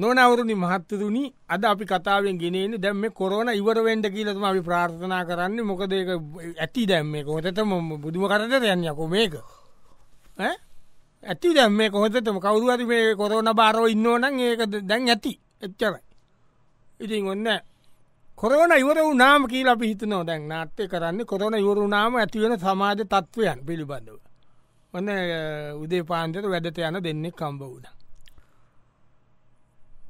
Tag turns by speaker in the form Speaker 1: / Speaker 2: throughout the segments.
Speaker 1: නොනවරුණි මහත්තතුනි අද අපි කතාවෙන් ගෙනෙන දැම්ම කොරන ඉවරවෙන්ඩ කියලතුම අපි ප්‍රාර්ථනා කරන්න මොකද ඒක ඇති දැම්ම කොහොතම බුදුම කරට යන්නකො මේක ඈ? ඇති දැම්ම කොහොතම කවරුවති මේ කොරන බාරෝ ඉන්නවනම් ඒක ද- දැන් ඇති එච්චරයි ඉතින් ඔන්න කොරන ඉවර වනාම කියල පිහිතනෝ දැන් නාට්‍ය කරන්න කොරන ඉවරුනාම ඇතිවෙන සමාජ තත්ත්වයන් පිළිබඳව ඔන්න අ, උදේ පාන්තර වැඩට යන දෙන්නෙක් කම්බ වුණ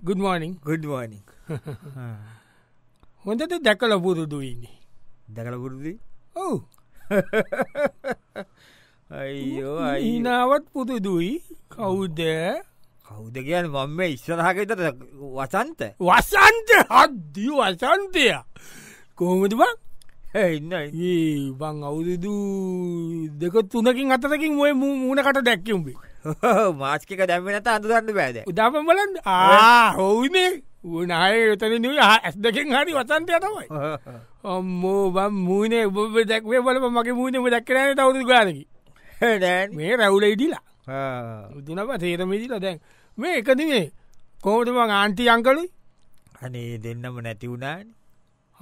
Speaker 1: ගුඩමෝනිින්
Speaker 2: ගොඩ්වානි Ah,
Speaker 1: හොඳට දැකල පුරුදුයින්නේ
Speaker 2: දැකල පුරුදි
Speaker 1: ඔව
Speaker 2: අයිෝ අයි
Speaker 1: ඊනාවත් පුරුදුයි කවුද
Speaker 2: කෞද කියන්න මම ඉස්සරහකට වසන්ත
Speaker 1: වසන්ත හද්දිය වසන්තය කොහොමතිබ
Speaker 2: ඉන්න
Speaker 1: ඒ බං අවුරුදු දෙක තුනකින් අතරකින් ඔය මූ- මූුණකට දැක්කුම්බි
Speaker 2: මාස්කික දැම්මනත අඳුරන්න බෑද
Speaker 1: උදාපමලන් ආහෝනේ උනාය එතන නිව ඇස් දෙකෙන් හරි වසන්තය තමයි ඔම්මෝ බම් මූනේ ඔබ දැක්වේ බලම මගේ මූනම දැක්කරන තවුරු ගානකි
Speaker 2: නෑන්
Speaker 1: මේ රැවුලයිඩිලා උදුනප තේරමිදිල දැන් මේ එකතිනේ කෝටම ආන්ටි අංකලි
Speaker 2: අනේ දෙන්නම නැති වුණාන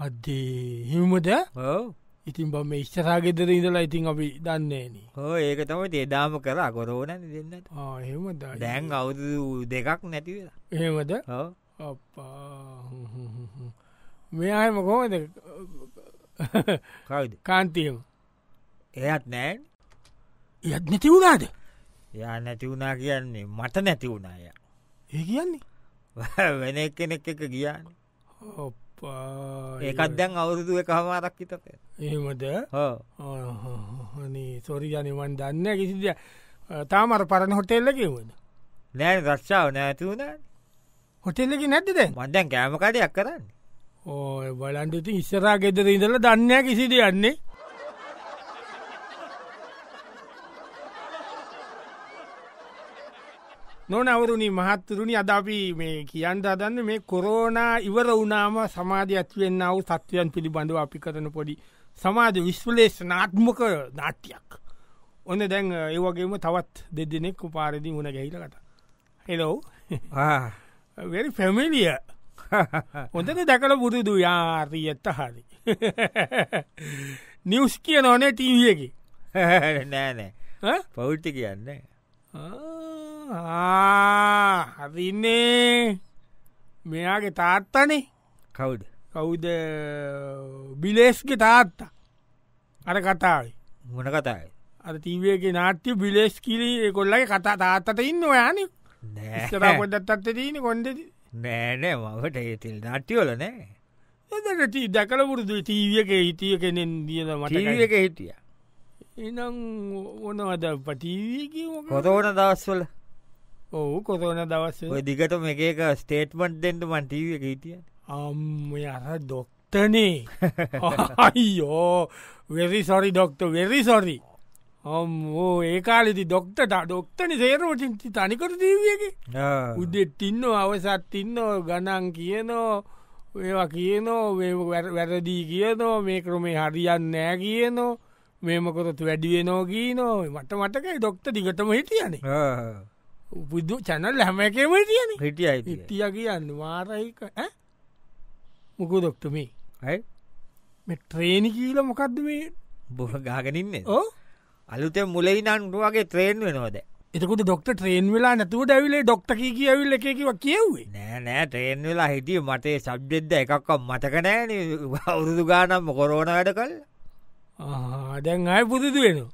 Speaker 1: අදේ හිමද
Speaker 2: ඕ
Speaker 1: ඉතින් බම ඉස්්චරාගෙදර ඉඳලා ඉතින් අපි දන්නේන
Speaker 2: හෝ ඒක තම තේදාම කර කොරෝන දෙන්නට
Speaker 1: එහෙමද
Speaker 2: දැන් අවුදු දෙකක් නැතිවෙලා
Speaker 1: එහෙමද
Speaker 2: හෝ
Speaker 1: අප්පා මෙයායම කෝමද
Speaker 2: කවුද
Speaker 1: කාන්තියම
Speaker 2: එයත් නෑන්
Speaker 1: යත් නැති වුණාද
Speaker 2: යා නැති වුණා කියන්නේ මට නැති වුණාය
Speaker 1: ඒ කියන්නේ
Speaker 2: වෙන එක් කෙනෙක් එක කියන්න
Speaker 1: ඔප්පා
Speaker 2: ඒකත් දැන් අවුරුදු එක හමාරක් හිතක
Speaker 1: එහෙමද
Speaker 2: හෝ
Speaker 1: ආහනේ සොරි ජනවන් දන්න කිසිද තාමර පරණ හොටෙල්ලකිවද
Speaker 2: නෑන රක්ෂාව නැති වුණ
Speaker 1: හොටෙල්ලක නැති දැන්
Speaker 2: මන්දැන් කෑමකටයක් කරන්න
Speaker 1: ඕය බලන්ටති ඉස්සරා ගෙදර ඉඳල දන්න කිසිද යන්නේ නොනවරුණි මහත්තුරුණි අදපි මේ කියන්ට අදන්න මේ කොරෝනා ඉවර වනාම සමාධය ඇත්වෙන්න්නාව සත්වයන් පිළිබඳව අපි කරන පොඩි සමාජ විශ්වලේෂ නාත්මක නාට්‍යයක් ඔන්න දැන් ඒ වගේම තවත් දෙදෙනෙක් උපාරදි වුණ ගැහිලකට හෙලෝ වෙරි පැමිලිය හොඳට දැකල පුරුදු යාරී ඇත්ත හරි නිවස් කිය නොනේ ටීවකි
Speaker 2: නෑනෑ පෞට්ටි කියන්න
Speaker 1: හරින්නේ මෙයාගේ තාත්තනේ
Speaker 2: කවුඩ්
Speaker 1: කවුද බිලේස්ගේ තාත්තා අර කතාවේ
Speaker 2: මොන කතායි
Speaker 1: අර තීවගේ නාට්‍ය බිලෙස් කිලී කොල්ලගේ කතා තාත්තට ඉන්න ඔයාන ස්තර
Speaker 2: නෑ
Speaker 1: පොඩ්ඩත්තත් දීන කොන්ඩ
Speaker 2: නෑනෑ මට ඒතිල් නට්ටියෝල නෑ
Speaker 1: එදට දැකල පුරුදු තීවියක හිටිය කෙනෙන් දියන
Speaker 2: මටව
Speaker 1: මට
Speaker 2: එක හිටිය
Speaker 1: එනම් ඕනවද පටීවීකි
Speaker 2: කොතෝන දවස්වල
Speaker 1: ඔහු කොතවන දවස්ස
Speaker 2: ඔය දිගට මේ එක ස්ටේට්මට් දෙෙන්ට මන්ටව එක හිටිය
Speaker 1: අම්ම අර දොක්තනේ අයිෝ very sorry doctor very sorry ඔම්ෝ ඒකාලෙති ඩොක්ට ඩොක්තන සේරෝටින්ති තනිකර දීවියගේ උදෙත් ඉන්න අවසත් ඉන්න ගණන් කියනෝ ඒවා කියනෝ මේ වැර- වැරදී කියනෝ මේ ක්‍රමේ හරියන් නෑ කියනෝ මේමකොරතු වැඩිවෙනෝ කියනෝ මට මටකයි ඩොක්ට දිගටම හිටියනේ බුදු චැනල් හැමැකම තියනේ
Speaker 2: හිටිය අයි
Speaker 1: ඉතිය කියන්න වාරයික ඈ? මොකෝ දොක්ට මේ මේ ට්‍රේණි කියීල මොකක්ද මේ
Speaker 2: බොහ ගාගෙනන්නේ
Speaker 1: ඕ
Speaker 2: අලුතේ මුලයි නන්ටුවගේ ත්‍රේන් වෙනවද
Speaker 1: එතකට ඩොක්ට ට්‍රේන් වෙලා නැතුව ඇවිලේ ඩොක්ට කියවිල්ල එකකිව කියව්වේ
Speaker 2: නෑ නෑ ට්‍රේන් වෙලා හිටිය මටේ සබ්ජෙද්ද එකක් මටක නෑන අවුරුදු ගානම් කොරෝන වැඩ කල්
Speaker 1: ආ, දැන් අය පුදුදු වෙනවා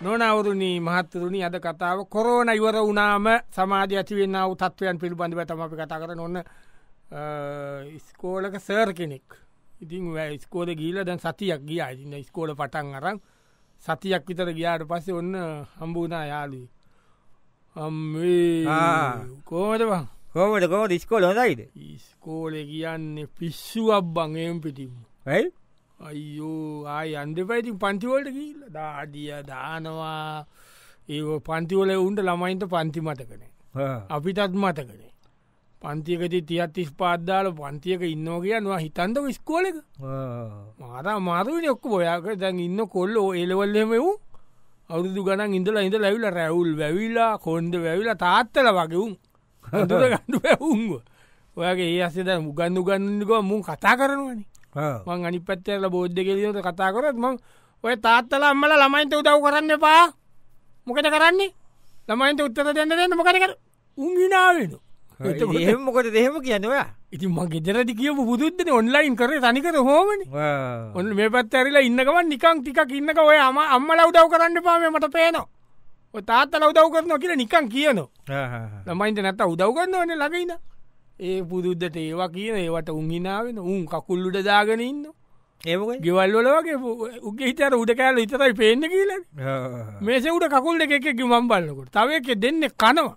Speaker 1: නොනවරුණී මහත්තුරුණි අද කතාව කොරෝන ඉවර වනාම සමාජ ඇතිවෙන්නාව තත්වයන් පිළිබඳව තම අපි කතා කරන ඔන්න ඉස්කෝලක සර් කෙනෙක් ඉතින් ස්කෝල ගීල දැන් සතියක් ගිය ඉන්න ස්කෝල පටන් අරන් සතියක් විතර ගියාට පස්සේ ඔන්න හම්බුනා යාලී
Speaker 2: ආ.
Speaker 1: අම් කෝටවා
Speaker 2: කොමට කොම රිස්කෝල හොඳයිද
Speaker 1: ඉස්කෝලෙ කියන්නේ පිස්සුවක් බංගම් පිටිම්
Speaker 2: ඇයි
Speaker 1: අයියෝ ආය අන්ඩ පැයිතින් පන්තිවලට කියීල දාඩිය දානවා ඒ පන්තිවල උන්ට ළමයින්ට පන්ති මතකනේ අපිටත් මතකනේ පන්තියකති තියත් ස් පාද්දාල පන්තියක ඉන්නෝ කියන්නවා හිතන්දක ස්කෝලක මාර මාරුවනි ඔක්ක ඔොයාක දැන් ඉන්න කොල්ල ඒලවල්ලම වූ අවුරුදු ගනන් ඉඳලා ඉඳ ලැවිල රැවුල් වැැවිලා කොන්ද වැැවිලා තාත්තල වගේවුම් හඳුර ගඩු පැවුන්ග ඔයගේ ඒ අසේද මුගන්දු ගන්නක මුන් කතා කරනවන මං අනි පත්තල බෝද්ධ කෙලියට කතා කරත් මං ඔය තාත්තල අම්මල ළමයින්ත උදව් කරන්න එපා මොකට කරන්නේ ළමයින්ත උත්තර දෙන්න දෙන්න මොකරකර උංගිනාවෙන
Speaker 2: එහෙම මොකට දෙහෙම කියනවා
Speaker 1: ඉතින් මගේ ජරටි කියපු බුදුද්ධන ඔන්ලයින් කර තනිකර හෝමන ඔන්න මේ පත්තඇරිලා ඉන්නකවන් නිකං ටිකක් ඉන්නක ඔය අම අම්මල උදව් කරන්න පාම මට පේනවා ඔය තාත්තල උදව් කරනවා කියලා නිකං කියනවා ළමයින්ට නැත උදව් කරන්න ඕන ලඟයින ඒ පුදුද්ධට ඒවා කියන ඒවට උන්හිනාවෙන උන් කකුල්ලුට දාගෙන ඉන්න
Speaker 2: ඒමක
Speaker 1: ගෙවල්වල වගේ උගේ හිතර උඩ කෑල ඉතරයි පේන්න කියලා මේසෙකුට කකුල් දෙක එකක මම් බලන්නකොට තව එක දෙන්න කනවා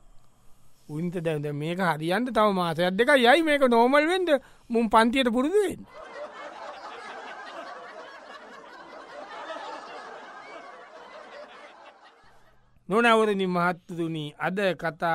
Speaker 1: උන්ත දැද මේක හරියන්ට තව මාසයක් දෙක යයි මේක නෝමල් වෙන්ද මුම් පන්තියට පුරුදුවෙන් නොනවරනි මහත්තතුනී අද කතා